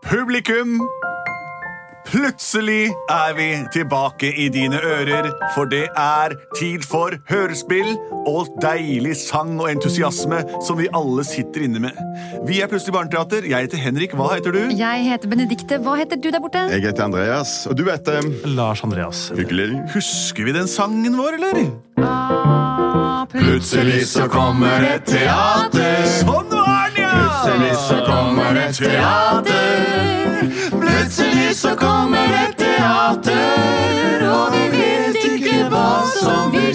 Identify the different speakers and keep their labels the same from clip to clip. Speaker 1: Publikum! Plutselig er vi tilbake i dine ører, for det er tid for hørespill og deilig sang og entusiasme som vi alle sitter inne med. Vi er Plutselig barneteater. Jeg heter Henrik. Hva heter du?
Speaker 2: Jeg heter Benedikte. Hva heter du der borte?
Speaker 3: Jeg heter Andreas, og du heter
Speaker 4: Lars Andreas.
Speaker 3: Hyggelig.
Speaker 1: Husker vi den sangen vår, eller?
Speaker 2: Ah,
Speaker 3: Plutselig så kommer et teater.
Speaker 1: Sånn var den,
Speaker 3: Plutselig
Speaker 1: ja!
Speaker 3: så kommer et teater. Plutselig så kommer et teater, og vi vet ikke hva som vil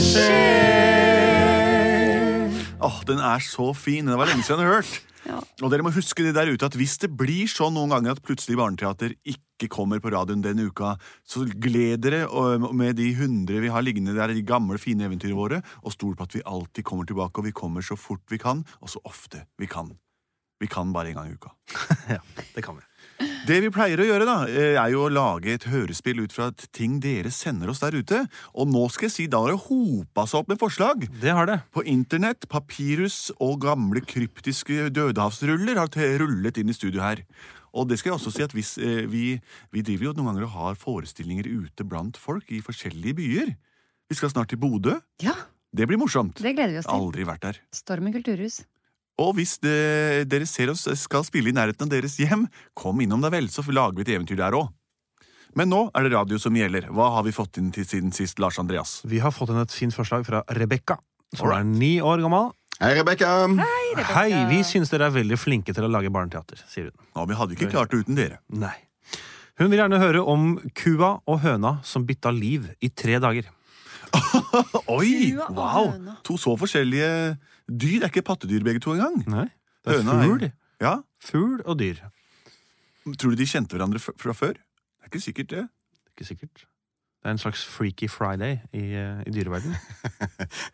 Speaker 3: skje.
Speaker 1: Åh, Den er så fin. Den var lenge siden jeg har hørt.
Speaker 2: Ja.
Speaker 1: Og dere må huske det der ute at hvis det blir sånn noen ganger at plutselig barneteater ikke kommer på radioen denne uka, så gled dere øh, med de hundre vi har liggende der, de gamle, fine eventyrene våre, og stol på at vi alltid kommer tilbake, og vi kommer så fort vi kan, og så ofte vi kan. Vi kan bare en gang i uka.
Speaker 4: Ja, det kan vi.
Speaker 1: Det vi pleier å gjøre, da, eh, er jo å lage et hørespill ut fra ting dere sender oss der ute. Og nå skal jeg si, da har det hopa seg opp med forslag.
Speaker 4: Det har det.
Speaker 1: På internett, papirus og gamle kryptiske dødehavsruller har te- rullet inn i studio her. Og det skal jeg også si at hvis, eh, vi, vi driver jo noen ganger og har forestillinger ute blant folk i forskjellige byer. Vi skal snart til Bodø.
Speaker 2: Ja,
Speaker 1: Det blir morsomt.
Speaker 2: det gleder vi oss til.
Speaker 1: Aldri vært der.
Speaker 2: Stormen kulturhus.
Speaker 1: Og hvis det, dere ser oss eh, skal spille i nærheten av deres hjem, kom innom da vel, så lager vi et eventyr der òg. Men nå er det radio som gjelder. Hva har vi fått inn til siden sist, Lars Andreas?
Speaker 4: Vi har fått inn et fint forslag fra Rebekka, som er ni år gammel.
Speaker 3: Hei, Rebekka.
Speaker 4: Hei, vi syns dere er veldig flinke til å lage barneteater, sier hun.
Speaker 1: Nå, vi hadde ikke klart det uten dere.
Speaker 4: Nei. Hun vil gjerne høre om kua og høna som bytta liv i tre dager.
Speaker 1: Oi!
Speaker 2: Kua og
Speaker 1: Wow!
Speaker 2: høna.
Speaker 1: To så forskjellige dyr. Det er ikke pattedyr begge to engang.
Speaker 4: Nei. Det er
Speaker 1: Høna er-
Speaker 4: fugl.
Speaker 1: Ja.
Speaker 4: Fugl og dyr.
Speaker 1: Tror du de kjente hverandre f- fra før? Det er ikke sikkert, det.
Speaker 4: Ikke sikkert. Det er en slags Freaky Friday i, eh, i dyreverdenen.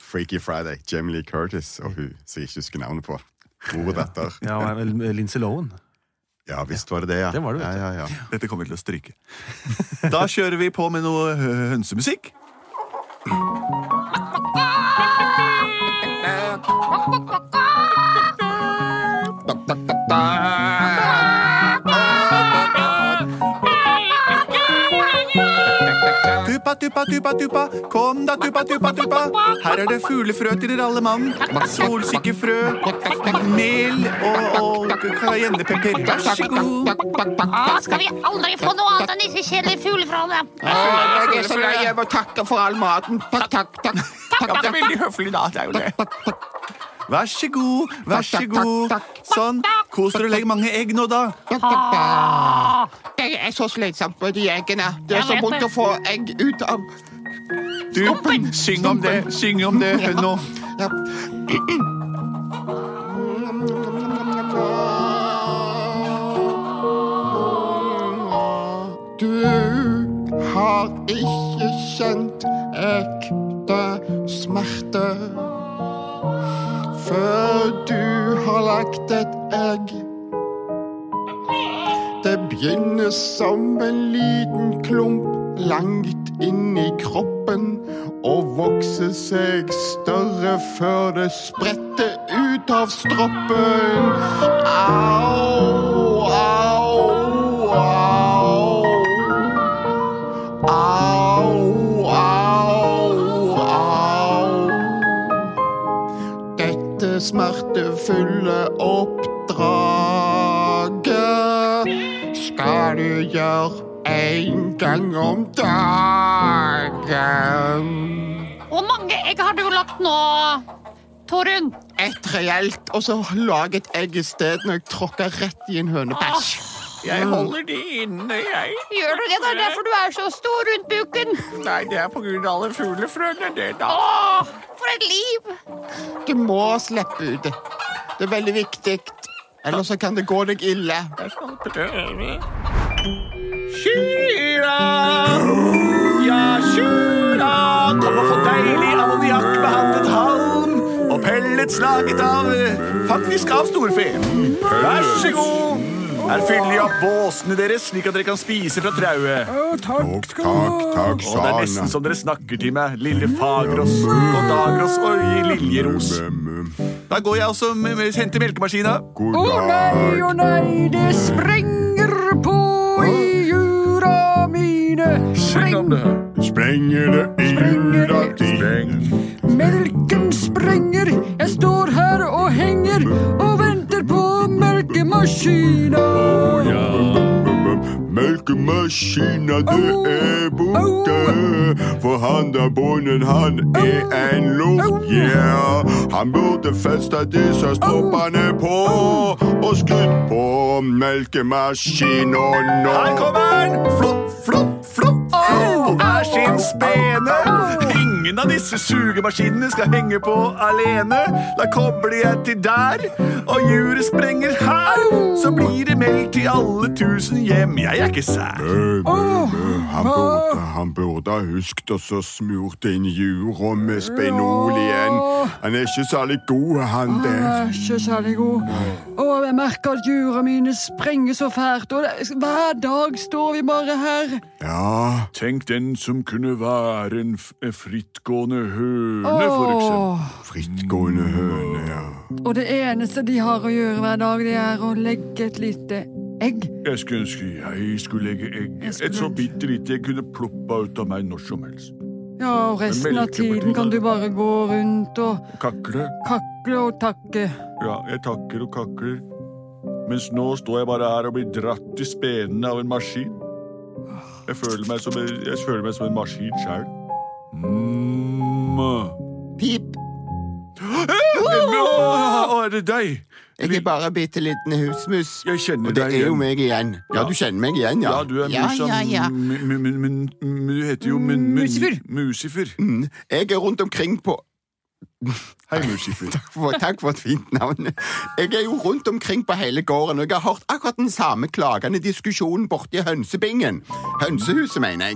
Speaker 3: Freaky Friday. Jamie Lee Curtis og hun som jeg ikke husker navnet på. Mor og datter.
Speaker 4: Ja, og Lindsay Lohan.
Speaker 3: Ja visst var det det, ja.
Speaker 4: Det var det, vet du.
Speaker 3: ja, ja, ja.
Speaker 1: Dette kommer vi til å stryke. Da kjører vi på med noe hø- hønsemusikk. Tuppa, tuppa, tuppa, tuppa. Kom da, tuppa, tuppa, tuppa. Her er det fuglefrø til dere alle mann. Solsikkefrø, mel og, og cayennepepper. Vær så god.
Speaker 5: Ja, Ah, skal vi aldri få noe annet enn disse kjedelige fuglefrøene? Ah,
Speaker 6: Jeg er så lei av å takke for all maten. Takk, takk, takk. takk, Det er veldig høflig, da. Det er jo det.
Speaker 1: Vær så god, vær så god. Sånn. Kos dere og legg mange egg nå, da.
Speaker 5: Ah,
Speaker 6: Jeg er så slitsom på de eggene. Det er så vondt å få egg ut av
Speaker 1: Du, syng om det, syng om det nå.
Speaker 6: ja. Du har ikke kjent ekte smerte før du har lagt et egg. Det begynner som en liten klump langt inn i kroppen og vokser seg større før det spretter ut av stroppen. Au, au, au. Au, au, au. Dette smertefulle oppdraget skal du gjøre en gang om dagen.
Speaker 5: Hvor mange egg har du lagt nå, Torunn?
Speaker 6: Et reelt, og så lag et egg i stedet når jeg tråkker rett i en hønebæsj.
Speaker 7: Jeg holder de inne, jeg.
Speaker 5: Gjør du det? Det er derfor du er så stor rundt buken.
Speaker 7: Nei, det er på grunn av alle fuglefrøene, det, da.
Speaker 5: Åh, for et liv!
Speaker 6: Du må slippe ut. Det er veldig viktig.
Speaker 3: Eller så kan det gå deg ille.
Speaker 1: Jeg skal prøve. Kyra! Ja, kyra! Kom og få deilig ammoniakk behandlet halm og pellets laget av eh, Faktisk av storfe. Vær så god. Her fyller jeg opp båsene deres, slik at dere kan spise fra trauet.
Speaker 3: Takk, takk, takk,
Speaker 1: Og det er nesten som dere snakker til meg, lille Fagerås og Dagerås og Liljeros. Da går jeg også med, med, henter melkemaskina.
Speaker 3: God dag.
Speaker 8: Å nei, det sprenger på i jura mine. Spreng,
Speaker 3: Sprenger det i jula dine?
Speaker 8: melken sprenger. Jeg står her og henger og venter på melkemaskina.
Speaker 3: Melkemaskina, du er borte. For han der bonden, han er en loff, yeah. Han burde festa disse stroppene på og skrudd på melkemaskina nå.
Speaker 1: Her kommer den! Flopp, flopp, flopp, flopp på hver sin spene. Ingen av disse sugemaskinene skal henge på alene. Da kobler jeg til der, og juret sprenger her. Så blir det melk til alle tusen hjem. Jeg er ikke sær.
Speaker 3: Han burde, han burde ha husket og så smurt inn jorda med spenolien. Han er ikke særlig god, han
Speaker 8: Jeg
Speaker 3: der.
Speaker 8: er ikke særlig god. Og jeg merker at jura mine sprenger så fælt. Og det- hver dag står vi bare her.
Speaker 3: Ja,
Speaker 1: Tenk den som kunne være en eh, frittgående høne,
Speaker 8: Åh.
Speaker 3: frittgående høne, ja.
Speaker 8: Og det eneste de har å gjøre hver dag, det er å legge et lite egg.
Speaker 1: Jeg skulle ønske jeg skulle legge egg.
Speaker 8: Jeg skulle Et så ønske-
Speaker 1: bitte lite jeg kunne ploppa ut av meg når som helst.
Speaker 8: Ja, og resten av tiden kan du bare gå rundt og
Speaker 1: Kakle.
Speaker 8: kakle og takke.
Speaker 1: Ja, jeg takker og kakler. Mens nå står jeg bare her og blir dratt i spenene av en maskin. Jeg føler meg som en, jeg føler meg som en maskin sjæl. Mm.
Speaker 6: Pip,
Speaker 1: Å, er det deg?
Speaker 6: jeg er bare bitte liten husmus.
Speaker 1: Jeg kjenner
Speaker 6: Og det
Speaker 1: deg
Speaker 6: er jo
Speaker 1: igjen.
Speaker 6: meg igjen. Ja, du kjenner meg igjen, ja.
Speaker 1: Ja, du er
Speaker 6: Ja,
Speaker 1: musa.
Speaker 6: ja, ja.
Speaker 1: mu- mu- mu- mun- mu- Du heter jo mun, mun,
Speaker 8: Musifer.
Speaker 1: Musifer.
Speaker 6: Mm, Jeg er rundt omkring på
Speaker 1: Hei, Musifer.
Speaker 6: Takk for, takk for et fint navn. Jeg er jo rundt omkring på hele gården, og jeg har hørt akkurat den samme klagende diskusjonen borti hønsebingen. Hønsehuset, mener jeg.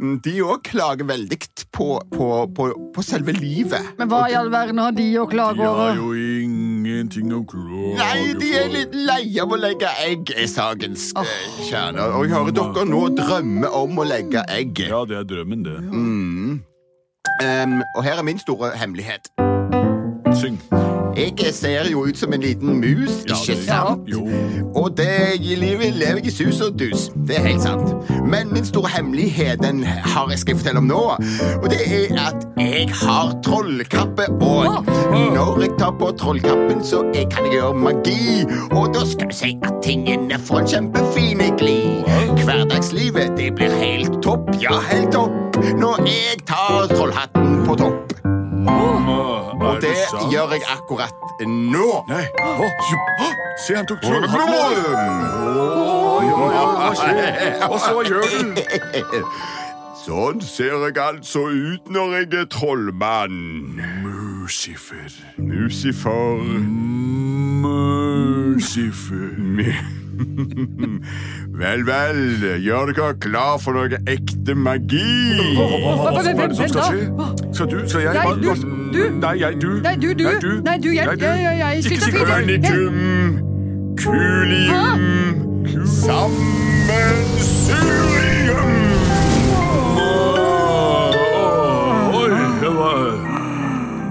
Speaker 6: Mm, De òg klager veldig på, på, på, på selve livet.
Speaker 8: Men hva i all verden har de å
Speaker 1: De
Speaker 8: klage
Speaker 1: har
Speaker 8: over?
Speaker 1: jo ingenting å klage
Speaker 6: Nei, de er
Speaker 1: for.
Speaker 6: litt leie av å legge egg, er sakens eh, kjerne. Og jeg hører dere nå drømme om å legge egg.
Speaker 1: Ja, det er drømmen, det.
Speaker 6: Em, og her er min store hemmelighet.
Speaker 1: Syng.
Speaker 6: Jeg ser jo ut som en liten mus,
Speaker 1: Ja,
Speaker 6: ikke
Speaker 1: det-
Speaker 6: sant?
Speaker 1: Jo.
Speaker 6: Og det i livet lever jeg i sus og dus. Det er helt sant. Men min store hemmelighet den har jeg skal jeg fortelle om nå. Og det er at jeg har trollkappe. Og når jeg tar på trollkappen, så jeg kan jeg gjøre magi. Og da skal du si at tingene får en kjempefin glid. Hverdagslivet, det blir helt topp, ja, helt topp. Når jeg tar trollhatten på topp. Og det gjør jeg akkurat nå.
Speaker 1: Nei. Å, jo. Å, Se, han tok trollhatten av.
Speaker 3: Sånn
Speaker 1: Og så gjør du
Speaker 3: ser jeg altså ut når jeg er trollmann.
Speaker 1: Musifer.
Speaker 3: Musifer.
Speaker 1: Musifer.
Speaker 3: Vel, vel, gjør dere klar for noe ekte magi.
Speaker 1: Hva hva- hva er det som
Speaker 8: Vent,
Speaker 1: skal
Speaker 8: da.
Speaker 1: skje? Skal du? Skal jeg?
Speaker 8: Nei,
Speaker 1: hva-
Speaker 8: du.
Speaker 1: hva-
Speaker 8: Du.
Speaker 1: Nei, jeg. Du.
Speaker 8: Nei, du, du.
Speaker 1: Nei,
Speaker 8: Nei, du, jeg-
Speaker 1: Nei,
Speaker 8: jeg- jeg- jeg-
Speaker 1: Ikke
Speaker 8: sitter
Speaker 1: si
Speaker 8: fint.
Speaker 1: Bernie.
Speaker 3: Manitum, kulium, sammensurium.
Speaker 1: Oi, det var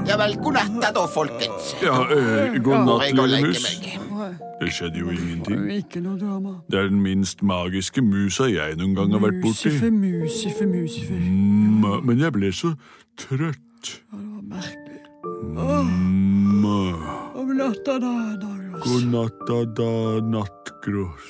Speaker 6: Ja vel, god natt da, da, folkens.
Speaker 1: Ja, eh, god
Speaker 6: Går
Speaker 1: natt,
Speaker 6: jeg og
Speaker 1: lille
Speaker 6: legger
Speaker 1: mus.
Speaker 6: meg.
Speaker 1: Det skjedde jo ingenting.
Speaker 8: Ikke noe drama.
Speaker 1: Det er den minst magiske musa jeg noen gang har vært borti.
Speaker 8: Musifer, musifer, musifer.
Speaker 1: Mm, Men jeg ble så trøtt.
Speaker 8: Merkelig.
Speaker 1: Mm.
Speaker 8: Om natta da, Dagros.
Speaker 1: God natta da, nattgrås.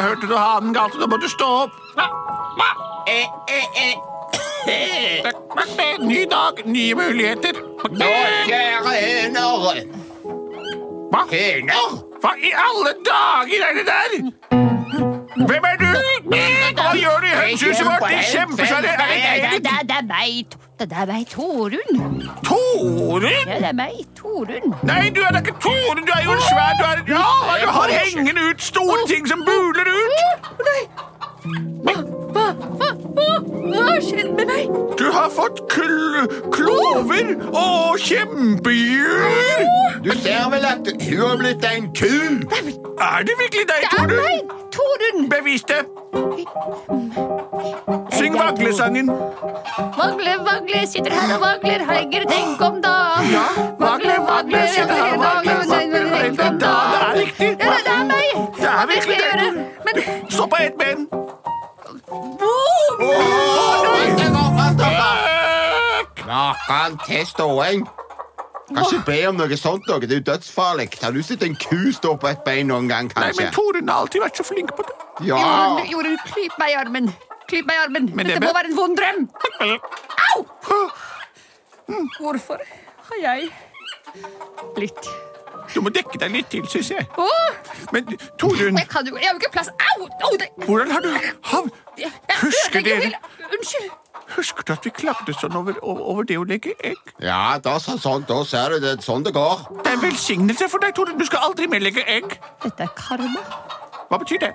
Speaker 1: Hørte du hanen galte? Da må du stå opp. Ny dag, nye muligheter.
Speaker 6: Nå skjærer høner.
Speaker 1: Hva?
Speaker 6: Høner?
Speaker 1: Hva i alle dager er det der? Hvem er du? Hva gjør du i hønsehuset vårt? De kjempesvære er
Speaker 2: Det,
Speaker 1: et
Speaker 2: det,
Speaker 1: egg!
Speaker 2: det, det er meg, det er meg, Torunn.
Speaker 1: Torunn?
Speaker 2: Ja, det er meg, Torunn.
Speaker 1: Nei, du er da ikke Torunn. Du er jo en svær Du, er, du, har- du har hengende ut store ting som buler ut.
Speaker 8: Hva, hva, hva, hva har skjedd med meg?
Speaker 1: Du har fått kl klover og kjempehjul.
Speaker 6: Du ser vel at hun har blitt en ku?
Speaker 1: Er det virkelig deg, Torunn?
Speaker 2: Torunn!
Speaker 1: Bevis det. Syng vaglesangen.
Speaker 2: Vagle, vagle, sitter her og vagler, henger tenk om da. Vagle, vagle, sitter her og vagler, henger tenk om da.
Speaker 1: Det er riktig.
Speaker 2: Ja, det det er meg.
Speaker 1: Det er
Speaker 2: Hva skal
Speaker 1: virkelig
Speaker 2: jeg
Speaker 1: deg,
Speaker 2: gjøre?
Speaker 1: Torunn.
Speaker 2: Men
Speaker 1: Stå på ett ben.
Speaker 6: Maken til ståing. Kan ikke be om noe sånt. Noe. Det er jo dødsfarlig. Har du sett en ku stå på et bein noen gang,
Speaker 1: Nei,
Speaker 6: kanskje?
Speaker 1: men Torunn har alltid vært så flink på det.
Speaker 6: Ja.
Speaker 2: Jorunn, Jorunn, klyp meg i armen. Klyp meg i armen.
Speaker 1: Ah! Men
Speaker 2: Dette
Speaker 1: det-
Speaker 2: må være en vond drøm. Au! Hvorfor har jeg blitt
Speaker 1: Du må dekke deg litt til, syns jeg.
Speaker 2: Å,
Speaker 1: Men Torunn,
Speaker 2: jeg kan jo Jeg har jo ikke plass. Au! Au, det-
Speaker 1: hvordan har du hav...
Speaker 2: jeg
Speaker 1: Husker
Speaker 2: ødelegger
Speaker 1: dere-
Speaker 2: hele- Unnskyld.
Speaker 1: Husker du at vi klagde sånn over, over det å legge egg?
Speaker 6: Ja, da, så, sånn, da ser du det. er Sånn det går.
Speaker 1: Det er en velsignelse for deg, Torunn. Du skal aldri mer legge egg.
Speaker 2: Dette er karma.
Speaker 1: Hva betyr det?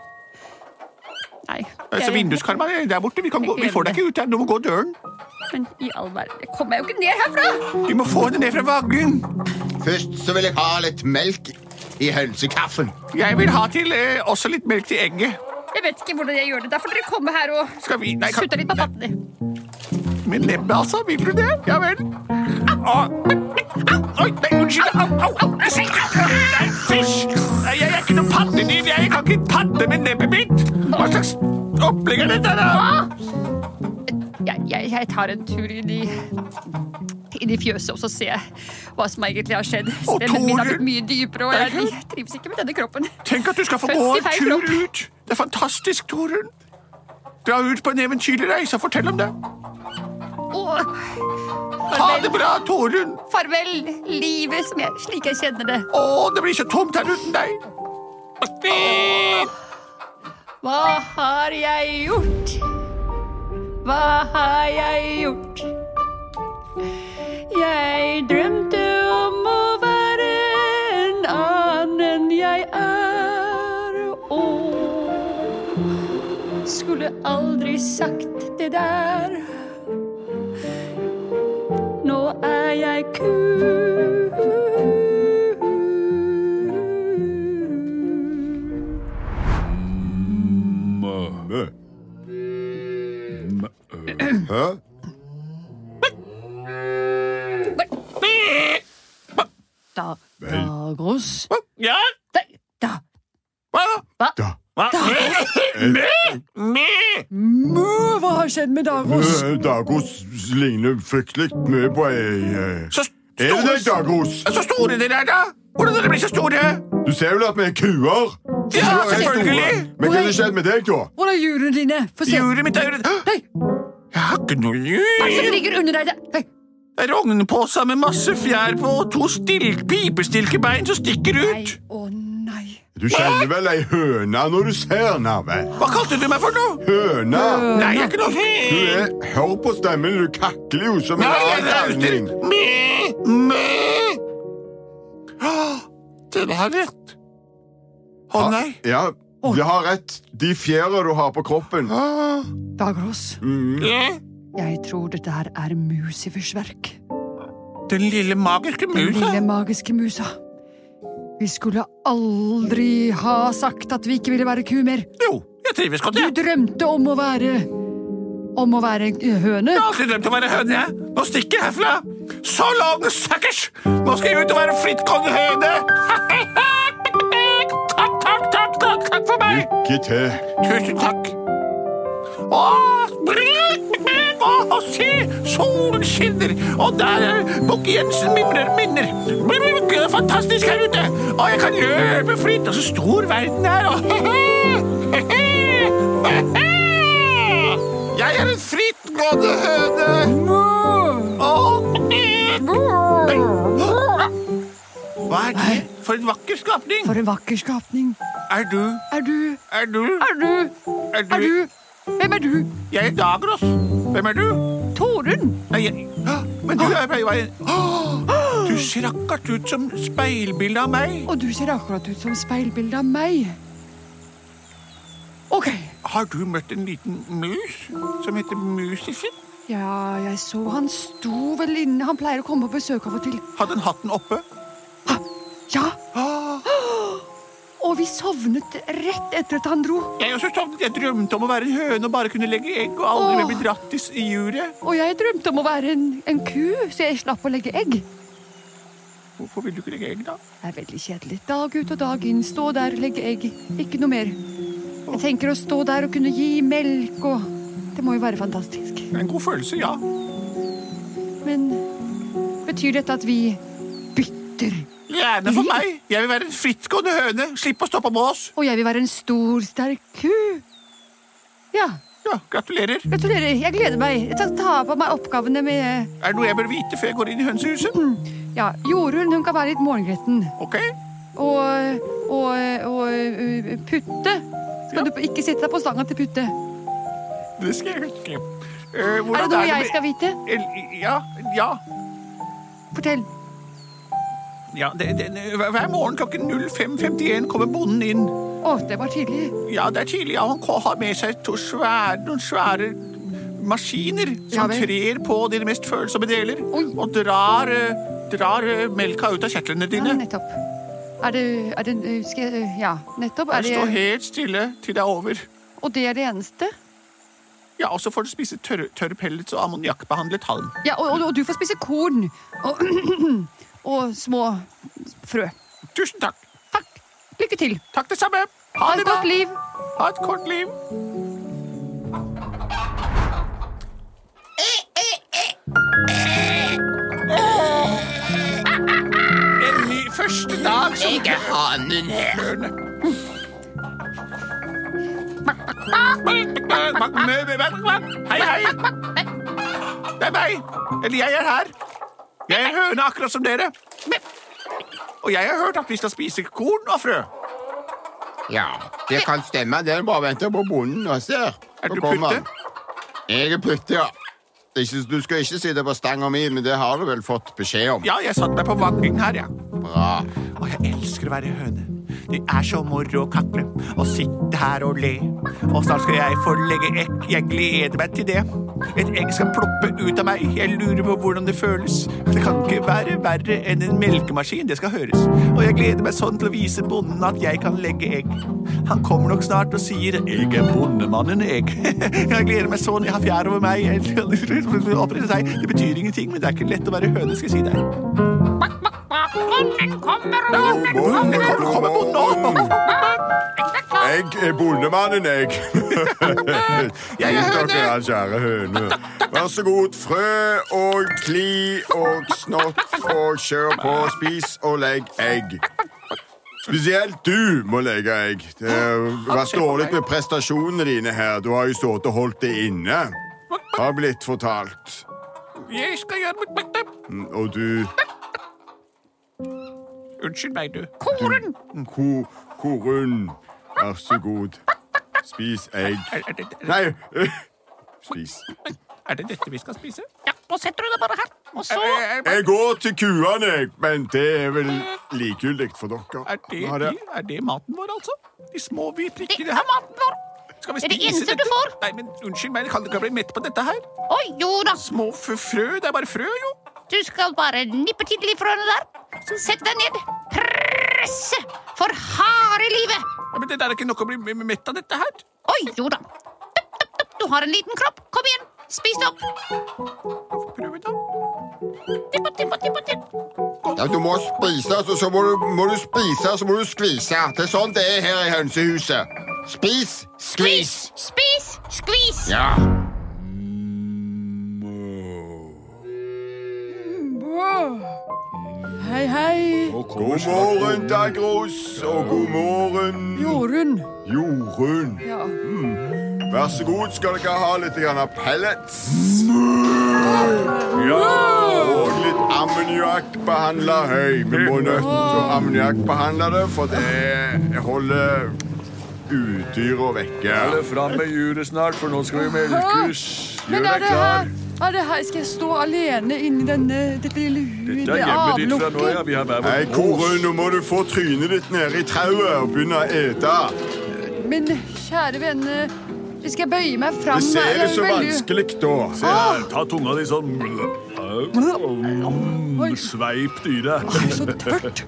Speaker 2: Nei.
Speaker 1: Altså,
Speaker 2: jeg-
Speaker 1: Vinduskarma er der borte. Vi, kan gå, vi får deg ikke ut der. Du må gå døren.
Speaker 2: Men i all verden, jeg kommer meg jo ikke ned herfra!
Speaker 1: Vi må få henne ned fra vaglen.
Speaker 6: Først så vil jeg ha litt melk i hønsekaffen.
Speaker 1: Jeg vil ha til eh, også litt melk til egget.
Speaker 2: Jeg vet ikke hvordan jeg gjør det. Da får dere komme her og
Speaker 1: Skal vi Nei,
Speaker 2: sutte
Speaker 1: kan,
Speaker 2: litt på pattene.
Speaker 1: med nebbet, altså. Vil du det? Ja vel. Au. Oi, nei, unnskyld. Au, au, au. Nei, Fysj! Nei, Jeg er ikke noe pattedyr. Jeg kan ikke padde med nebbet mitt. Hva slags opplegg er dette, da?
Speaker 2: Jeg, jeg, jeg tar en tur inn i, inn i fjøset og så ser jeg hva som egentlig har skjedd.
Speaker 1: Å,
Speaker 2: Stemmen min har
Speaker 1: Tore!
Speaker 2: blitt mye dypere, og jeg, jeg trives ikke med denne kroppen.
Speaker 1: Tenk at du skal få
Speaker 2: Født
Speaker 1: gå
Speaker 2: i
Speaker 1: en
Speaker 2: feil
Speaker 1: tur
Speaker 2: kropp.
Speaker 1: ut. Det er fantastisk, Torunn. Dra ut på en eventyrlig reise og fortell om det.
Speaker 2: Og
Speaker 1: Ha det bra, Torunn.
Speaker 2: farvel, livet som jeg, slik jeg kjenner det.
Speaker 1: Å, det blir så tomt her uten deg.
Speaker 2: Hva har jeg gjort? Hva har jeg gjort? Jeg drømte om å være en annen enn jeg er. Og skulle aldri sagt det der. Nå er jeg ku.
Speaker 6: Hæ?
Speaker 2: Da, Dagros.
Speaker 1: Ja?
Speaker 2: Da, da,
Speaker 1: Hva?
Speaker 2: Hva?
Speaker 1: Da. Hva? Mæ? Mæ?
Speaker 2: Mø, hva har skjedd med Dagros?
Speaker 3: Dagos ligner fryktelig mye på ei
Speaker 1: Så
Speaker 3: Er
Speaker 1: store,
Speaker 3: det det, Dagos?
Speaker 1: så store dere er, da? Hvordan dere blir så store?
Speaker 3: Du ser vel at vi er kuer?
Speaker 1: Ja,
Speaker 3: Kuer er
Speaker 1: selvfølgelig.
Speaker 3: store. Men hva er det skjedd med deg, da?
Speaker 8: Hvor er hjulene dine? Få se.
Speaker 1: Juret mitt er jo
Speaker 8: Nei,
Speaker 1: Jeg har ikke noe
Speaker 8: hva er det som
Speaker 1: jur.
Speaker 8: ligger under deg? Nei,
Speaker 1: Altså, Det er Rognpåsa med masse fjær på og to stil- pipestilkebein som stikker ut.
Speaker 8: å nei.
Speaker 3: Du kjenner vel ei høne når du ser henne? vel?
Speaker 1: Hva kalte du meg for noe?
Speaker 3: Høne!
Speaker 1: Nei, jeg er ikke
Speaker 3: Du
Speaker 1: noe
Speaker 3: er, hør på stemmen, du kakler jo som en
Speaker 1: Nei, jeg rauter.
Speaker 3: avdanning.
Speaker 1: Mæ, mæ. Åh, Dere har rett. Å nei.
Speaker 3: Ja, du har rett. De fjæra du har på kroppen.
Speaker 1: Ah.
Speaker 8: Dagros,
Speaker 3: Mm.
Speaker 1: Mæ.
Speaker 8: jeg tror dette her er musivers verk.
Speaker 1: Den lille magiske
Speaker 8: Den
Speaker 1: musa.
Speaker 8: lille magiske musa. Vi skulle aldri ha sagt at vi ikke ville være ku mer.
Speaker 1: Jo, jeg trives godt,
Speaker 8: Du
Speaker 1: jeg.
Speaker 8: drømte om å være Om å være en høne.
Speaker 1: Jeg har alltid drømt om å være høne, jeg. Nå stikker jeg herfra. Så long, suckers! Nå skal jeg ut og være frittgående høne. Takk, takk, takk, takk, takk for meg.
Speaker 3: Lykke til.
Speaker 1: Tusen takk. Åh, bryt meg! Åh, se! Solen skinner, og der er Bukke Jensen mimrer minner. Men men, det er fantastisk her ute. Og jeg kan løpe fritt, og så stor verden er. Og Jeg er en frittgående høne. Åh. Hva er det For en vakker skapning!
Speaker 2: For en vakker skapning.
Speaker 1: Er du
Speaker 2: Er du
Speaker 1: Er du
Speaker 2: Er du
Speaker 1: Er
Speaker 2: Er du Hvem er du?
Speaker 1: Jeg er Dagros. Hvem er du?
Speaker 2: Torunn.
Speaker 1: Nei, jeg Hå! Men du er på vei Hå! Du ser akkurat ut som speilbildet av meg.
Speaker 2: Og du ser akkurat ut som speilbildet av meg. Ok.
Speaker 1: Har du møtt en liten mus som heter Musifen?
Speaker 2: Ja, jeg så han sto vel inne. Han pleier å komme på besøk av og til.
Speaker 1: Hadde han hatten oppe?
Speaker 2: Ja,
Speaker 1: Hå!
Speaker 2: og vi sovnet rett etter at han dro.
Speaker 1: Jeg også sovnet. Jeg drømte om å være en høne og bare kunne legge egg og aldri mer bli dratt i s- i juret.
Speaker 2: Og jeg drømte om å være en, en ku, så jeg slapp å legge egg.
Speaker 1: Hvorfor vil du ikke legge egg, da?
Speaker 2: Det er veldig kjedelig. Dag ut og dag inn. Stå der, legge egg. Ikke noe mer. Jeg tenker å stå der og kunne gi melk og Det må jo være fantastisk.
Speaker 1: En god følelse, ja.
Speaker 2: Men betyr dette at vi bytter?
Speaker 1: Gjerne for meg. Jeg vil være en frittgående høne. Slipp å stoppe med oss.
Speaker 2: Og jeg vil være en stor, sterk ku? Ja.
Speaker 1: Ja, gratulerer.
Speaker 2: Gratulerer. Jeg gleder meg. Jeg skal ta på meg oppgavene med
Speaker 1: Er det noe jeg bør vite før jeg går inn i hønsehuset?
Speaker 2: Ja, Jorunn hun kan være litt morgengretten.
Speaker 1: Ok.
Speaker 2: Og, og, og uh, Putte skal du ikke sitte deg på stanga til Putte.
Speaker 1: Det skal jeg huske. Eh,
Speaker 2: Er det
Speaker 1: hvordan
Speaker 2: noe
Speaker 1: det
Speaker 2: jeg
Speaker 1: med-
Speaker 2: skal vite?
Speaker 1: El- Ja. ja.
Speaker 2: Fortell.
Speaker 1: ja det, det, hver morgen klokken 05.51 kommer bonden inn.
Speaker 2: Å, det var tidlig.
Speaker 1: Ja, det er tidlig. Ja, han har med seg to svære, noen svære maskiner
Speaker 2: Ja
Speaker 1: som
Speaker 2: vel.
Speaker 1: trer på dine mest følsomme deler
Speaker 2: Oi.
Speaker 1: og drar, eh, drar eh, melka ut av kjertlene
Speaker 2: Ja,
Speaker 1: dine.
Speaker 2: nettopp. Er det, er det uh, skal jeg, uh, Ja, nettopp.
Speaker 1: Den
Speaker 2: Er
Speaker 1: står
Speaker 2: det,
Speaker 1: helt stille til det er over.
Speaker 2: og det er det eneste?
Speaker 1: Ja, og så får du spise tørre, tørre pellets og ammoniakkbehandlet halm.
Speaker 2: Ja, og, og, og du får spise korn. Og, og små frø.
Speaker 1: Tusen takk.
Speaker 2: Takk. Lykke til.
Speaker 1: Takk det samme.
Speaker 2: Ha et godt liv.
Speaker 1: Ha et kort liv. En ny første dag som
Speaker 6: Jeg er hanen her.
Speaker 1: Hei, hei. Det er meg. Eller jeg er her. Jeg er høne, akkurat som dere. Og jeg har hørt at vi skal spise korn og frø.
Speaker 6: Ja, det kan stemme. Det er bare å vente på bonden og se.
Speaker 1: Er
Speaker 6: Så
Speaker 1: du
Speaker 6: kommer
Speaker 1: putte?
Speaker 6: han. Jeg er putte, ja. Det er ikke, du skal ikke sitte på stanga mi, men det har du vel fått beskjed om?
Speaker 1: Ja, jeg satte meg på vaggen her, ja.
Speaker 6: Bra.
Speaker 1: Og jeg elsker å være høne. Det er så moro å kakle og sitte her og le. Og snart skal jeg få legge egg. Jeg gleder meg til det. Et egg skal ploppe ut av meg. Jeg lurer på hvordan det føles. Det kan ikke være verre enn en melkemaskin. Det skal høres. Og jeg gleder meg sånn til å vise bonden at jeg kan legge egg. Han kommer nok snart og sier 'Jeg er bondemannen, jeg'. jeg gleder meg sånn. Jeg har fjær over meg. Jeg- Opprette seg. Det betyr ingenting, men det er ikke lett å være høne, skal jeg si deg. Bonden kommer, kommer bonden nå!
Speaker 3: Jeg er bondemannen, jeg.
Speaker 1: Jeg er
Speaker 3: Gi
Speaker 1: høne.
Speaker 3: dere, kjære høne. Vær så god, frø og kli og snott og kjør på. Spis og legg egg. Spesielt du må legge egg. Det har vært dårlig med prestasjonene dine her. Du har jo stått og holdt det inne, har blitt fortalt. Mm,
Speaker 1: Jeg skal gjøre mitt beste.
Speaker 3: Og du
Speaker 1: Unnskyld meg, du.
Speaker 5: Koren!
Speaker 3: mm, ko, Korunn, vær så god. Spis egg.
Speaker 1: Er, er, det,
Speaker 3: Nei, spis.
Speaker 1: er det dette vi skal spise?
Speaker 5: Ja, nå setter du deg bare her. Og så
Speaker 1: Er, er,
Speaker 3: Jeg går til kuene, jeg, men det er vel likegyldig for dere.
Speaker 1: er, det,
Speaker 3: Nå har det-
Speaker 1: de- er det maten vår, altså? De små vi prikker
Speaker 5: Det
Speaker 1: det
Speaker 5: er
Speaker 1: her.
Speaker 5: maten vår.
Speaker 1: Skal vi
Speaker 5: Det er det
Speaker 1: spise
Speaker 5: eneste du
Speaker 1: dette?
Speaker 5: får.
Speaker 1: Nei, men Unnskyld meg, kan du ikke bli mett på dette her?
Speaker 5: Å jo da.
Speaker 1: Små f frø, det er bare frø, jo.
Speaker 5: Du skal bare nippe til de frøene der. Sett deg ned. Presse for harde livet.
Speaker 1: Ja, men Det der er ikke nok å bli m- mett av dette her.
Speaker 5: Å jo da. Tup, tup, tup. Du har en liten kropp. Kom igjen. Spis det opp.
Speaker 1: Prøv da.
Speaker 5: Tippa, tippa, tippa, tippa.
Speaker 6: Ja, du må spise, og så må du, må du spise, så må du skvise. Det er sånn det er her i hønsehuset. Spis, skvis.
Speaker 5: Spis, skvis.
Speaker 6: Ja.
Speaker 2: Wow. Hei, hei.
Speaker 3: God morgen, Dagros, og god morgen,
Speaker 2: Jorunn.
Speaker 3: Jorunn.
Speaker 2: Ja.
Speaker 3: Mm. Vær så god, skal dere ha litt grann av pellets? Ja, og litt ammoniakk. ammoniakkbehandle høy. Vi må nødt til å ammoniakkbehandle det, for det holder udyra vekke.
Speaker 1: Hold fram med juret snart, for nå skal vi melkes.
Speaker 2: Men
Speaker 1: Gjør
Speaker 2: er
Speaker 1: deg
Speaker 2: det her,
Speaker 1: klar.
Speaker 2: er det her Skal jeg stå alene inni denne, dette lille hu-
Speaker 1: Det er hjemmet ditt fra nå, ja.
Speaker 2: avlukket?
Speaker 1: Vi har hver
Speaker 3: Hei,
Speaker 1: vår
Speaker 3: Kåre, nå må du få trynet ditt nede i trauet og begynne å ete.
Speaker 2: Men kjære venne, skal jeg bøye meg fram?
Speaker 3: Det ser
Speaker 2: Jeg
Speaker 3: det
Speaker 2: er
Speaker 3: så
Speaker 2: veldig-
Speaker 3: vanskelig da.
Speaker 1: Se her, ta tunga di sånn. Mm, Sveip dyret.
Speaker 2: Det er så tørt.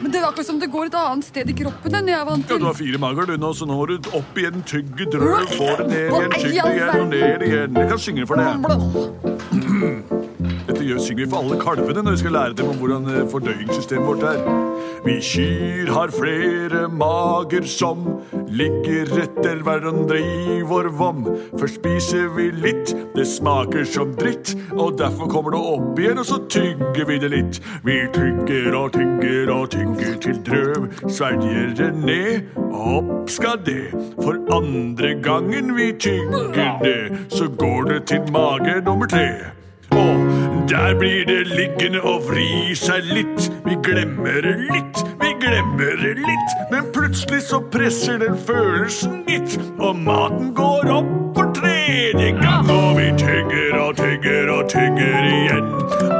Speaker 2: Men det er akkurat som det går et annet sted i kroppen enn jeg er vant
Speaker 1: Ja,
Speaker 2: til.
Speaker 1: du har fire mager, du nå, så nå må du opp igjen, tygge, drø, få det ned igjen, tygge det igjen og ned igjen. Jeg kan synge for deg. Dette gjør synger vi for alle kalvene når vi skal lære dem om hvordan eh, fordøyingssystemet vårt er. Vi kyr har flere mager som ligger etter hverandre i vår vom. Først spiser vi litt, det smaker som dritt, og derfor kommer det opp igjen, og så tygger vi det litt. Vi tygger og tygger og tygger til drøv svelger det ned, opp skal det. For andre gangen vi tygger det, så går det til mage nummer tre. Og der blir det liggende og vri seg litt. Vi glemmer det litt, vi glemmer det litt. Men plutselig så presser den følelsen litt, og maten går opp for tredje gang. Og vi tygger og tygger og tygger igjen.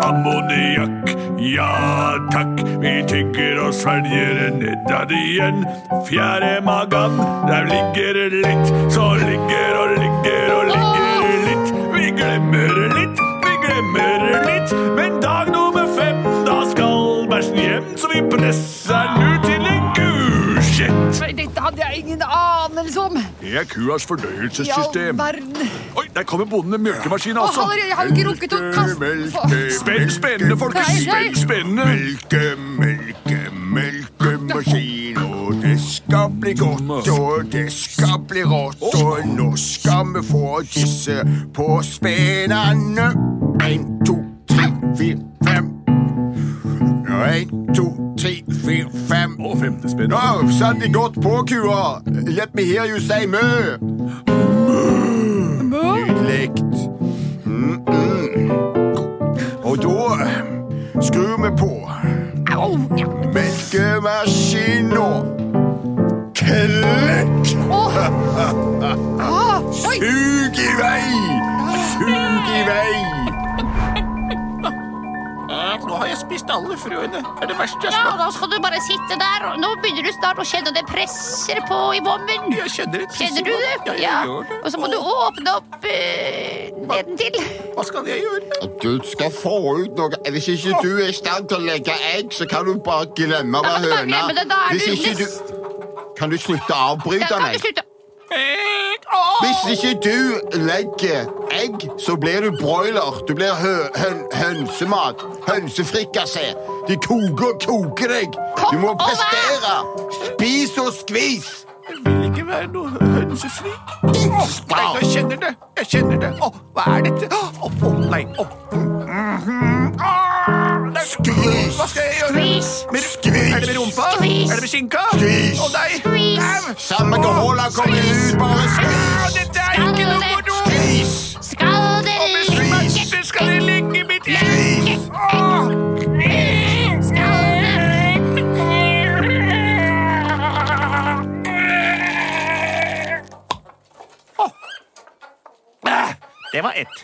Speaker 1: Ammoniakk, ja takk. Vi tygger og svelger det nedad igjen. Fjerde magan, der ligger det litt. Så ligger og ligger og ligger det litt. Vi glemmer det litt, vi glemmer det litt. Men dag nummer fem, da skal bæsjen hjem, så vi presser den ut til en kuskjett.
Speaker 2: Nei, Dette hadde jeg ingen anelse om.
Speaker 1: Det er kuas
Speaker 2: I all
Speaker 1: fordøyelsessystem.
Speaker 2: verden.
Speaker 1: Oi, der kommer bonden med mjølkemaskinen
Speaker 2: Og
Speaker 1: også.
Speaker 2: allerede, jeg har jo ikke rukket å kaste
Speaker 1: Spenn, spennende, folkens.
Speaker 2: Nei, nei.
Speaker 1: Spenn, spennende.
Speaker 3: Melke, melke, melkemaskin, og det skal bli godt, og det skal bli rått, og nå skal vi få tisse på spenene. Ein, to, tre, fire, fem. En, to, tre, fire, fem.
Speaker 1: Og femte spenn.
Speaker 3: Nå, satt de godt på, kua. Let me hear you say mø. Nydelig. Mm, mm. Og da eh, skrur vi på melkemaskina. Klikk! Sug i vei! Sug i vei!
Speaker 8: Nå har jeg spist alle frøene. Det er det verste jeg
Speaker 5: Ja,
Speaker 8: har
Speaker 5: og da skal du bare sitte der. og Nå begynner du snart å kjenne det presser på i vommen.
Speaker 8: Jeg kjenner et
Speaker 5: Kjenner du det?
Speaker 8: Ja, jeg gjør det.
Speaker 5: Og så må du åpne opp eh, nedentil.
Speaker 8: Hva skal jeg gjøre?
Speaker 6: Du skal få ut noe. Hvis ikke du er i stand til å legge egg, så kan du bare glemme å
Speaker 5: Da kan
Speaker 6: være
Speaker 5: du bare
Speaker 6: høna.
Speaker 5: glemme det. Da er
Speaker 6: Hvis
Speaker 5: du
Speaker 6: ikke
Speaker 5: nest-
Speaker 6: du... Kan du slutte å
Speaker 5: Da
Speaker 6: avbryte
Speaker 5: kan du
Speaker 6: meg?
Speaker 5: slutte.
Speaker 6: Hvis ikke du legger egg, så blir du broiler. Du blir hø høn hønsemat. Hønsefrikassé. De koker og koker deg. Du
Speaker 5: Kom
Speaker 6: må
Speaker 5: og vær!
Speaker 6: prestere. Spis og skvis.
Speaker 8: Jeg vil ikke være noe hønsefrik. Nei, nå kjenner det. Jeg kjenner det. Å, hva er dette? Å, å, nei. Å. Mhm. Å, nei.
Speaker 6: Skvis.
Speaker 8: Hva skal jeg gjøre?
Speaker 5: Skvis.
Speaker 8: Med,
Speaker 6: Skvis.
Speaker 8: Er det med rumpa?
Speaker 5: Skvis.
Speaker 8: Er det med skinka?
Speaker 6: Skvis.
Speaker 8: Å nei!
Speaker 5: Skvis.
Speaker 8: Au.
Speaker 6: Samme gehåla kommer ut. Bare
Speaker 8: Au,
Speaker 6: skvis.
Speaker 8: Dette er ikke noe moro!
Speaker 6: Skvis.
Speaker 5: Skal det
Speaker 8: Og med smerter skal det ligge i mitt hjerte! Å. Æh, Det var ett.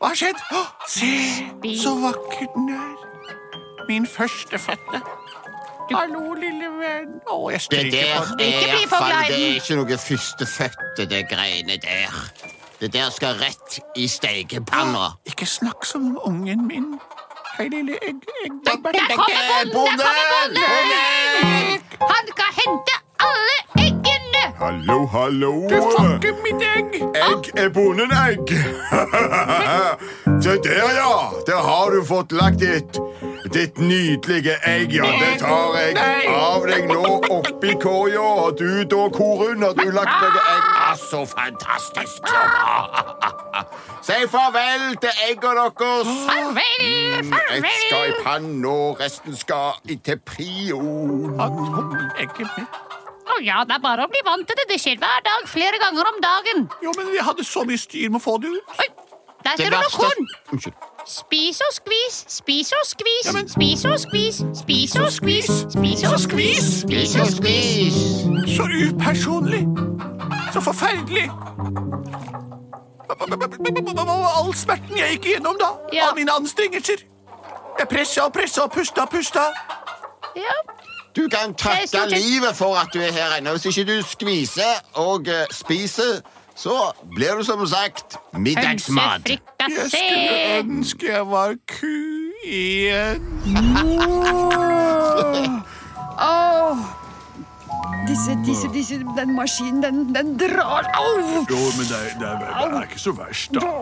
Speaker 8: Hva har skjedd? Å, Se, så vakker den er. Min førstefødte. Hallo, lille venn. Å, jeg
Speaker 6: Det der
Speaker 8: stryker
Speaker 6: er
Speaker 8: på den.
Speaker 6: i
Speaker 5: Ikke bli
Speaker 6: hvert fall-
Speaker 5: for glad i
Speaker 6: Det
Speaker 5: den.
Speaker 6: er ikke noe førstefødte, det greiene der. Det der skal rett i steikepanna.
Speaker 8: Ikke snakk som ungen min. Hei, lille egg... egg
Speaker 5: Der kommer bonden! Der kommer bonden! Han skal hente alle eggene!
Speaker 3: Hallo, hallo.
Speaker 8: du får ikke mitt egg!
Speaker 3: Egg er bonden egg. Se der, ja. Der har du fått lagt ditt. Ditt nydelige egg, ja. Det tar jeg av deg nå oppi koia. Og du da, Korun, har du lagt noe egg? Ah, så fantastisk.
Speaker 6: Si farvel til egga deres.
Speaker 5: Farvel,
Speaker 8: Mm,
Speaker 6: Ett skal i
Speaker 5: farvel!
Speaker 6: panna, resten skal i til prio.
Speaker 8: Han tok egget mitt.
Speaker 5: Å ja, det er bare å bli vant til det. Det skjer hver dag, flere ganger om dagen.
Speaker 8: Jo, men vi hadde så mye styr med å få det ut.
Speaker 5: Oi, der ser du noe korn.
Speaker 6: Unnskyld.
Speaker 5: Spis og skvis, spis og skvis, spis og skvis, spis og skvis, spis og skvis, spis og skvis.
Speaker 8: Så upersonlig. Så forferdelig. Hva var all smerten jeg gikk igjennom, da?
Speaker 5: Ja.
Speaker 8: Av mine anstrengelser. Jeg pressa og pressa og pusta og pusta.
Speaker 5: Ja,
Speaker 6: Du kan
Speaker 5: Jeg
Speaker 6: takke
Speaker 5: stort sett-
Speaker 6: livet for at du er her ennå. Hvis ikke du skviser og eh, spiser, så blir du som sagt middagsmat.
Speaker 8: Jeg skulle
Speaker 5: hønsefrikassé.
Speaker 8: ønske jeg var ku igjen.
Speaker 2: Åh! Disse, disse, disse Den maskinen, den, den drar Au!
Speaker 1: Jo, men det er, det, er, det er ikke så verst, da.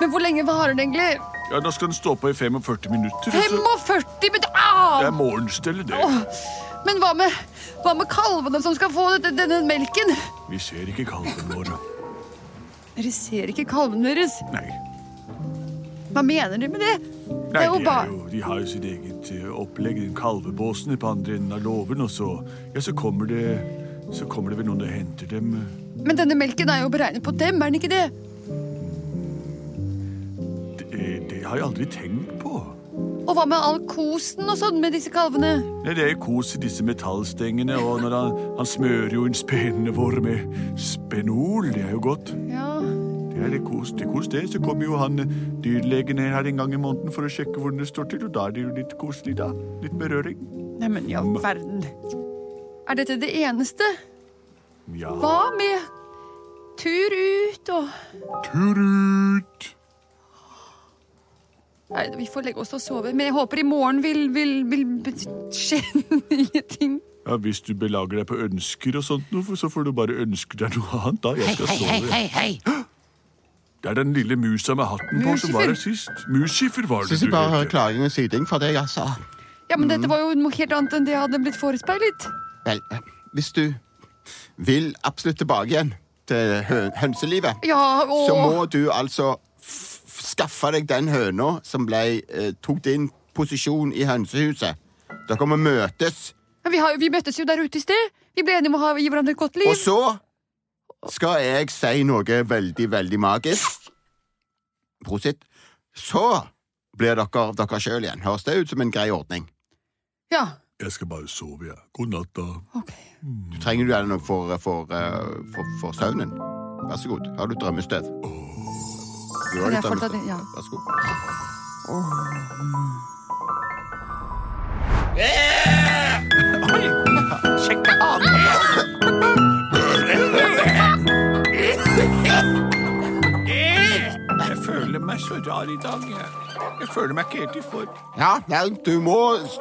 Speaker 2: Men hvor lenge varer den egentlig?
Speaker 1: Ja, da skal den stå på i 45 minutter. altså.
Speaker 2: 45 minutter!
Speaker 1: Det
Speaker 2: Au!
Speaker 1: er morgenstellet, det.
Speaker 2: Men hva med, hva med kalvene som skal få dette, denne melken?
Speaker 1: Vi ser ikke kalven vår.
Speaker 2: Dere ser ikke kalvene deres.
Speaker 1: Nei.
Speaker 2: Hva mener dere med det?
Speaker 1: Nei,
Speaker 2: Det er jo
Speaker 1: de,
Speaker 2: ba-
Speaker 1: er jo, de har jo sitt eget eh, opplegg. Den kalvebåsen på andre enden av låven, og så, ja, så kommer det så kommer det vel noen og henter dem.
Speaker 2: Men denne melken er jo beregnet på dem, er den ikke det?
Speaker 1: Det, eh, det har jeg aldri tenkt på.
Speaker 2: Og hva med all kosen og sånn med disse kalvene?
Speaker 1: Nei, det er kos i disse metallstengene, og når han, han smører jo inn spenene våre med spenol. Det er jo godt.
Speaker 2: Ja,
Speaker 1: Det er litt kos, det er kos det. Så kommer jo han eh, dyrlegen ned her en gang i måneden for å sjekke hvordan det står til, og da er det jo litt koselig, da. Litt berøring.
Speaker 2: Neimen, i all verden. Er dette det eneste?
Speaker 1: Ja.
Speaker 2: Hva med tur ut og
Speaker 1: Turut!
Speaker 2: Nei, vi får legge oss og sove. Men jeg håper i morgen vil, vil, vil skje nye ting.
Speaker 1: Ja, Hvis du belager deg på ønsker og sånt, noe, så får du bare ønske deg noe annet. da. Jeg skal stå der.
Speaker 5: hei, hei.
Speaker 1: Det er den lille musa med hatten på som var her
Speaker 2: Musifer.
Speaker 1: sist. Musifer var det
Speaker 6: Syns
Speaker 1: du
Speaker 6: jeg bare hører
Speaker 1: het.
Speaker 6: klaging og syting fra deg, altså.
Speaker 2: Ja, men dette var jo noe helt annet enn det jeg hadde blitt forespeilet.
Speaker 6: Vel, eh, hvis du vil absolutt tilbake igjen til hø hønselivet,
Speaker 2: Ja,
Speaker 6: så
Speaker 2: og
Speaker 6: må du altså f- f- skaffe deg den høna som ble, eh, tok din posisjon i hønsehuset. Dere må møtes,
Speaker 2: Men vi, har, vi møttes jo der ute i sted. Vi ble enige om å ha, gi hverandre et godt liv.
Speaker 6: og så skal jeg si noe veldig, veldig magisk. Prosit. Så blir dere dere sjøl igjen. Høres det ut som en grei ordning?
Speaker 2: Ja,
Speaker 1: Jeg skal bare sove, jeg. God natt, da.
Speaker 2: ok.
Speaker 6: Du trenger du gjerne noe for, for, eh, for, for søvnen. Vær så god. Har du drømmestøv? Du har
Speaker 2: Kan
Speaker 6: litt
Speaker 2: jeg få ta
Speaker 6: drømmestøv.
Speaker 2: det? Ja.
Speaker 6: Vær så god.
Speaker 8: Jeg føler meg så rar i dag. Jeg, jeg føler meg ikke helt i form.
Speaker 6: Ja, nei, du må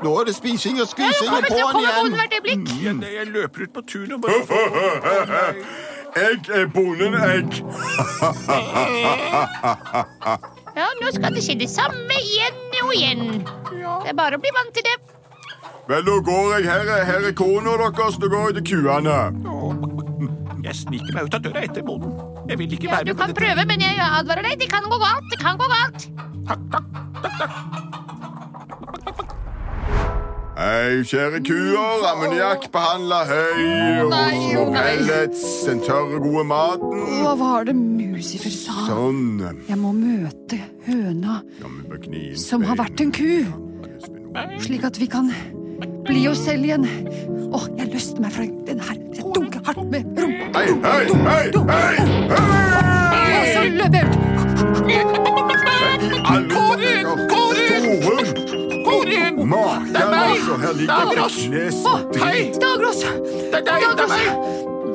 Speaker 6: Nå er det spising og skvising og
Speaker 5: Kommer til å
Speaker 6: på'n
Speaker 5: komme
Speaker 6: igjen.
Speaker 5: bonden hvert øyeblikk.
Speaker 8: Jeg,
Speaker 1: Mm.
Speaker 8: jeg løper ut på tunet og bare får
Speaker 3: Jeg er bonden, jeg.
Speaker 5: Ja, nå skal det skje det samme igjen og igjen. Det er bare å bli vant til det.
Speaker 3: Vel, da går jeg her. er- Her er kona deres. Da går jeg til kuene.
Speaker 8: Jeg sniker meg ut av døra etter bonden. Jeg vil ikke
Speaker 5: Ja,
Speaker 8: være
Speaker 5: du
Speaker 8: med på
Speaker 5: kan
Speaker 8: dette.
Speaker 5: prøve, men jeg advarer deg. Det kan gå galt. Det kan gå galt.
Speaker 3: Hei, kjære kuer. Ammoniakk behandla høy.
Speaker 2: nei, å
Speaker 3: Og
Speaker 2: nei.
Speaker 3: pellets. Den tørre, gode maten.
Speaker 2: Hva var det Musifer sa?
Speaker 3: Sånn.
Speaker 2: Jeg må møte høna
Speaker 3: Ja, men på knien,
Speaker 2: som har vært en ku, slik at vi kan bli oss selv igjen. Åh, jeg løste meg fra den her. Jeg dunker hardt med rumpa.
Speaker 3: Hei, hei, hei, hei! hei!
Speaker 2: Og så løper jeg ut.
Speaker 3: Korin! Korin! Korin! Maken, altså. Her ligger det knes.
Speaker 8: Hei!
Speaker 2: Dagros!
Speaker 8: Det er deg! Det er meg!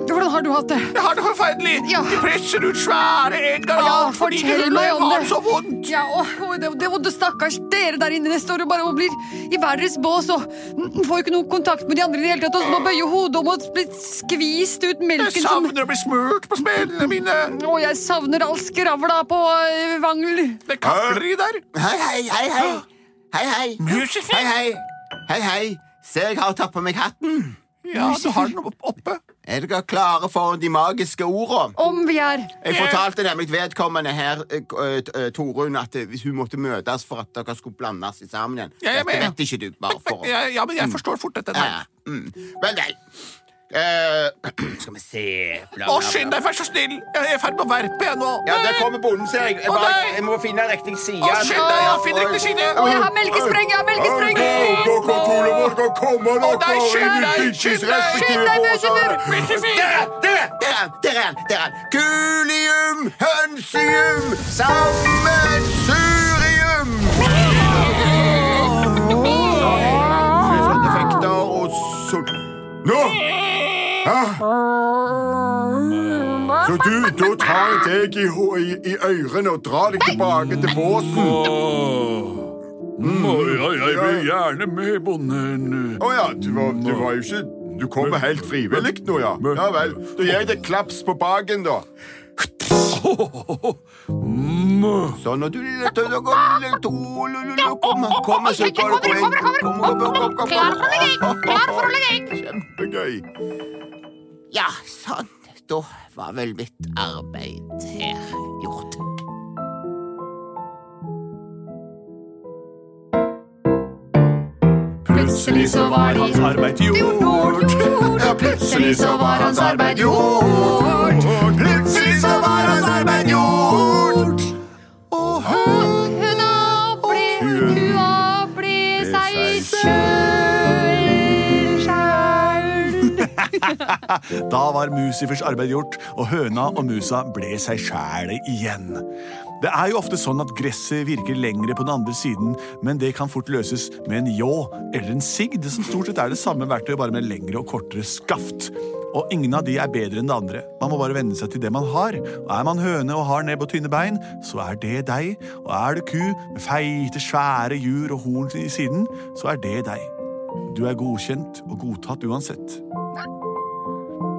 Speaker 2: Hvordan har du hatt det?
Speaker 8: Jeg har det forferdelig!
Speaker 2: Ja.
Speaker 8: De presser ut svære Edgar
Speaker 2: Ja,
Speaker 8: Allan fordi det
Speaker 2: fortell meg om
Speaker 8: var
Speaker 2: det.
Speaker 8: så vondt!
Speaker 2: Ja, og, og det, det, og det stakkars dere der inne står og bare og blir i hver deres bås og mm, får jo ikke noe kontakt med de andre i det hele tatt, og så må bøye hodet om og bli skvist ut
Speaker 8: Jeg
Speaker 2: melken som
Speaker 8: savner å bli smurt på smelene mine!
Speaker 2: Å, jeg savner all skravla på eh, Vangel.
Speaker 8: Det kakler i der.
Speaker 6: Hei, hei, hei, hei. Hei, hei.
Speaker 8: Musifer?
Speaker 6: Hei, hei. Hei, hei. Se, jeg har tatt på meg hatten.
Speaker 8: Ja, du har den opp- oppe.
Speaker 6: Er dere klare for de magiske ordene?
Speaker 2: Om vi er
Speaker 6: Jeg fortalte nemlig vedkommende her, eh, k- eh, t- eh, Torunn, at eh, hvis hun måtte møtes for at dere skulle blandes i sammen igjen.
Speaker 8: Ja, jeg
Speaker 6: Dette
Speaker 8: mener-
Speaker 6: vet ikke du, bare for å
Speaker 8: Ja, ja, men jeg forstår fort dette
Speaker 6: Ja, ja.
Speaker 8: der.
Speaker 6: Mm. Vel, vel. Eh, skal vi se bla,
Speaker 9: Å,
Speaker 6: bla,
Speaker 9: skynd
Speaker 6: bla.
Speaker 9: deg, vær så snill! Jeg er i ferd med å verpe, jeg nå.
Speaker 6: Ja, Der kommer bonden, ser jeg. Jeg,
Speaker 9: Å,
Speaker 6: bare,
Speaker 9: nei!
Speaker 6: jeg må finne riktig side.
Speaker 9: Å, skynd deg! Jeg finner ikke
Speaker 2: Å,
Speaker 9: skinnet!
Speaker 2: jeg har melkespreng, jeg har melkespreng!
Speaker 3: dere kommer
Speaker 9: Å, nei, skynd deg, skynd deg,
Speaker 2: skynd deg, Musemur!
Speaker 9: Bikkjefyr!
Speaker 6: Der, der, der, der. Kulium, hønsium, sammensurium. Fredeffekter og så... Nå! Hæ?
Speaker 3: Så du, da tar jeg deg i, ho- i, i ørene og drar deg tilbake til båsen.
Speaker 10: Oi, oi, jeg blir gjerne med, bonden.
Speaker 3: Å ja, du var, du var jo ikke Du kommer helt frivillig nå, ja. Ja vel. Da gir jeg deg klaps på baken, da.
Speaker 6: Sånn, og du lille tøyde og kom, tolololo, kom, kom, så tar du poeng. Kom, kom, kom, kom, kom,
Speaker 5: Klar for å legge
Speaker 6: kom.
Speaker 5: egg! Klar for å legge egg!
Speaker 3: Kjempegøy.
Speaker 6: Ja, sånn. Da var vel mitt arbeid her gjort.
Speaker 2: Plutselig så var hans
Speaker 1: arbeid
Speaker 2: gjort. Ja, plutselig så var hans arbeid gjort.
Speaker 3: Plutselig så var hans arbeid gjort.
Speaker 2: Og høna ble kua ble seg sjøl sjøl.
Speaker 1: Da var Musifers arbeid gjort, og høna og musa ble seg sjæle igjen. Det er jo ofte sånn at gresset virker lengre på den andre siden, men det kan fort løses med en ljå eller en sigd, som stort sett er det samme verktøyet, bare med lengre og kortere skaft. Og ingen av de er bedre enn det andre. Man må bare venne seg til det man har. Og er man høne og har nebb og tynne bein, så er det deg. Og er du ku med feite, svære hjul og horn i siden, så er det deg. Du er godkjent og godtatt uansett.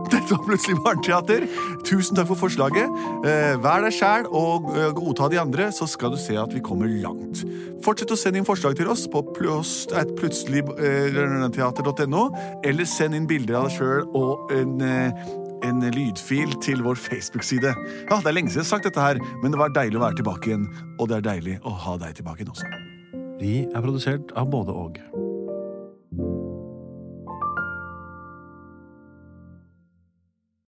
Speaker 1: Dette var plutselig barneteater. Tusen takk for forslaget. Eh, Vær deg sjæl og eh, godta de andre, så skal du se at vi kommer langt. Fortsett å sende inn forslag til oss på eh, plutseligteater.no, eller send inn bilder av deg sjøl og en eh, en lydfil til vår Facebook-side. Ja, det er lenge siden jeg har sagt dette, her, men det var deilig å være tilbake igjen. Og det er deilig å ha deg tilbake igjen også.
Speaker 4: Vi er produsert av både og.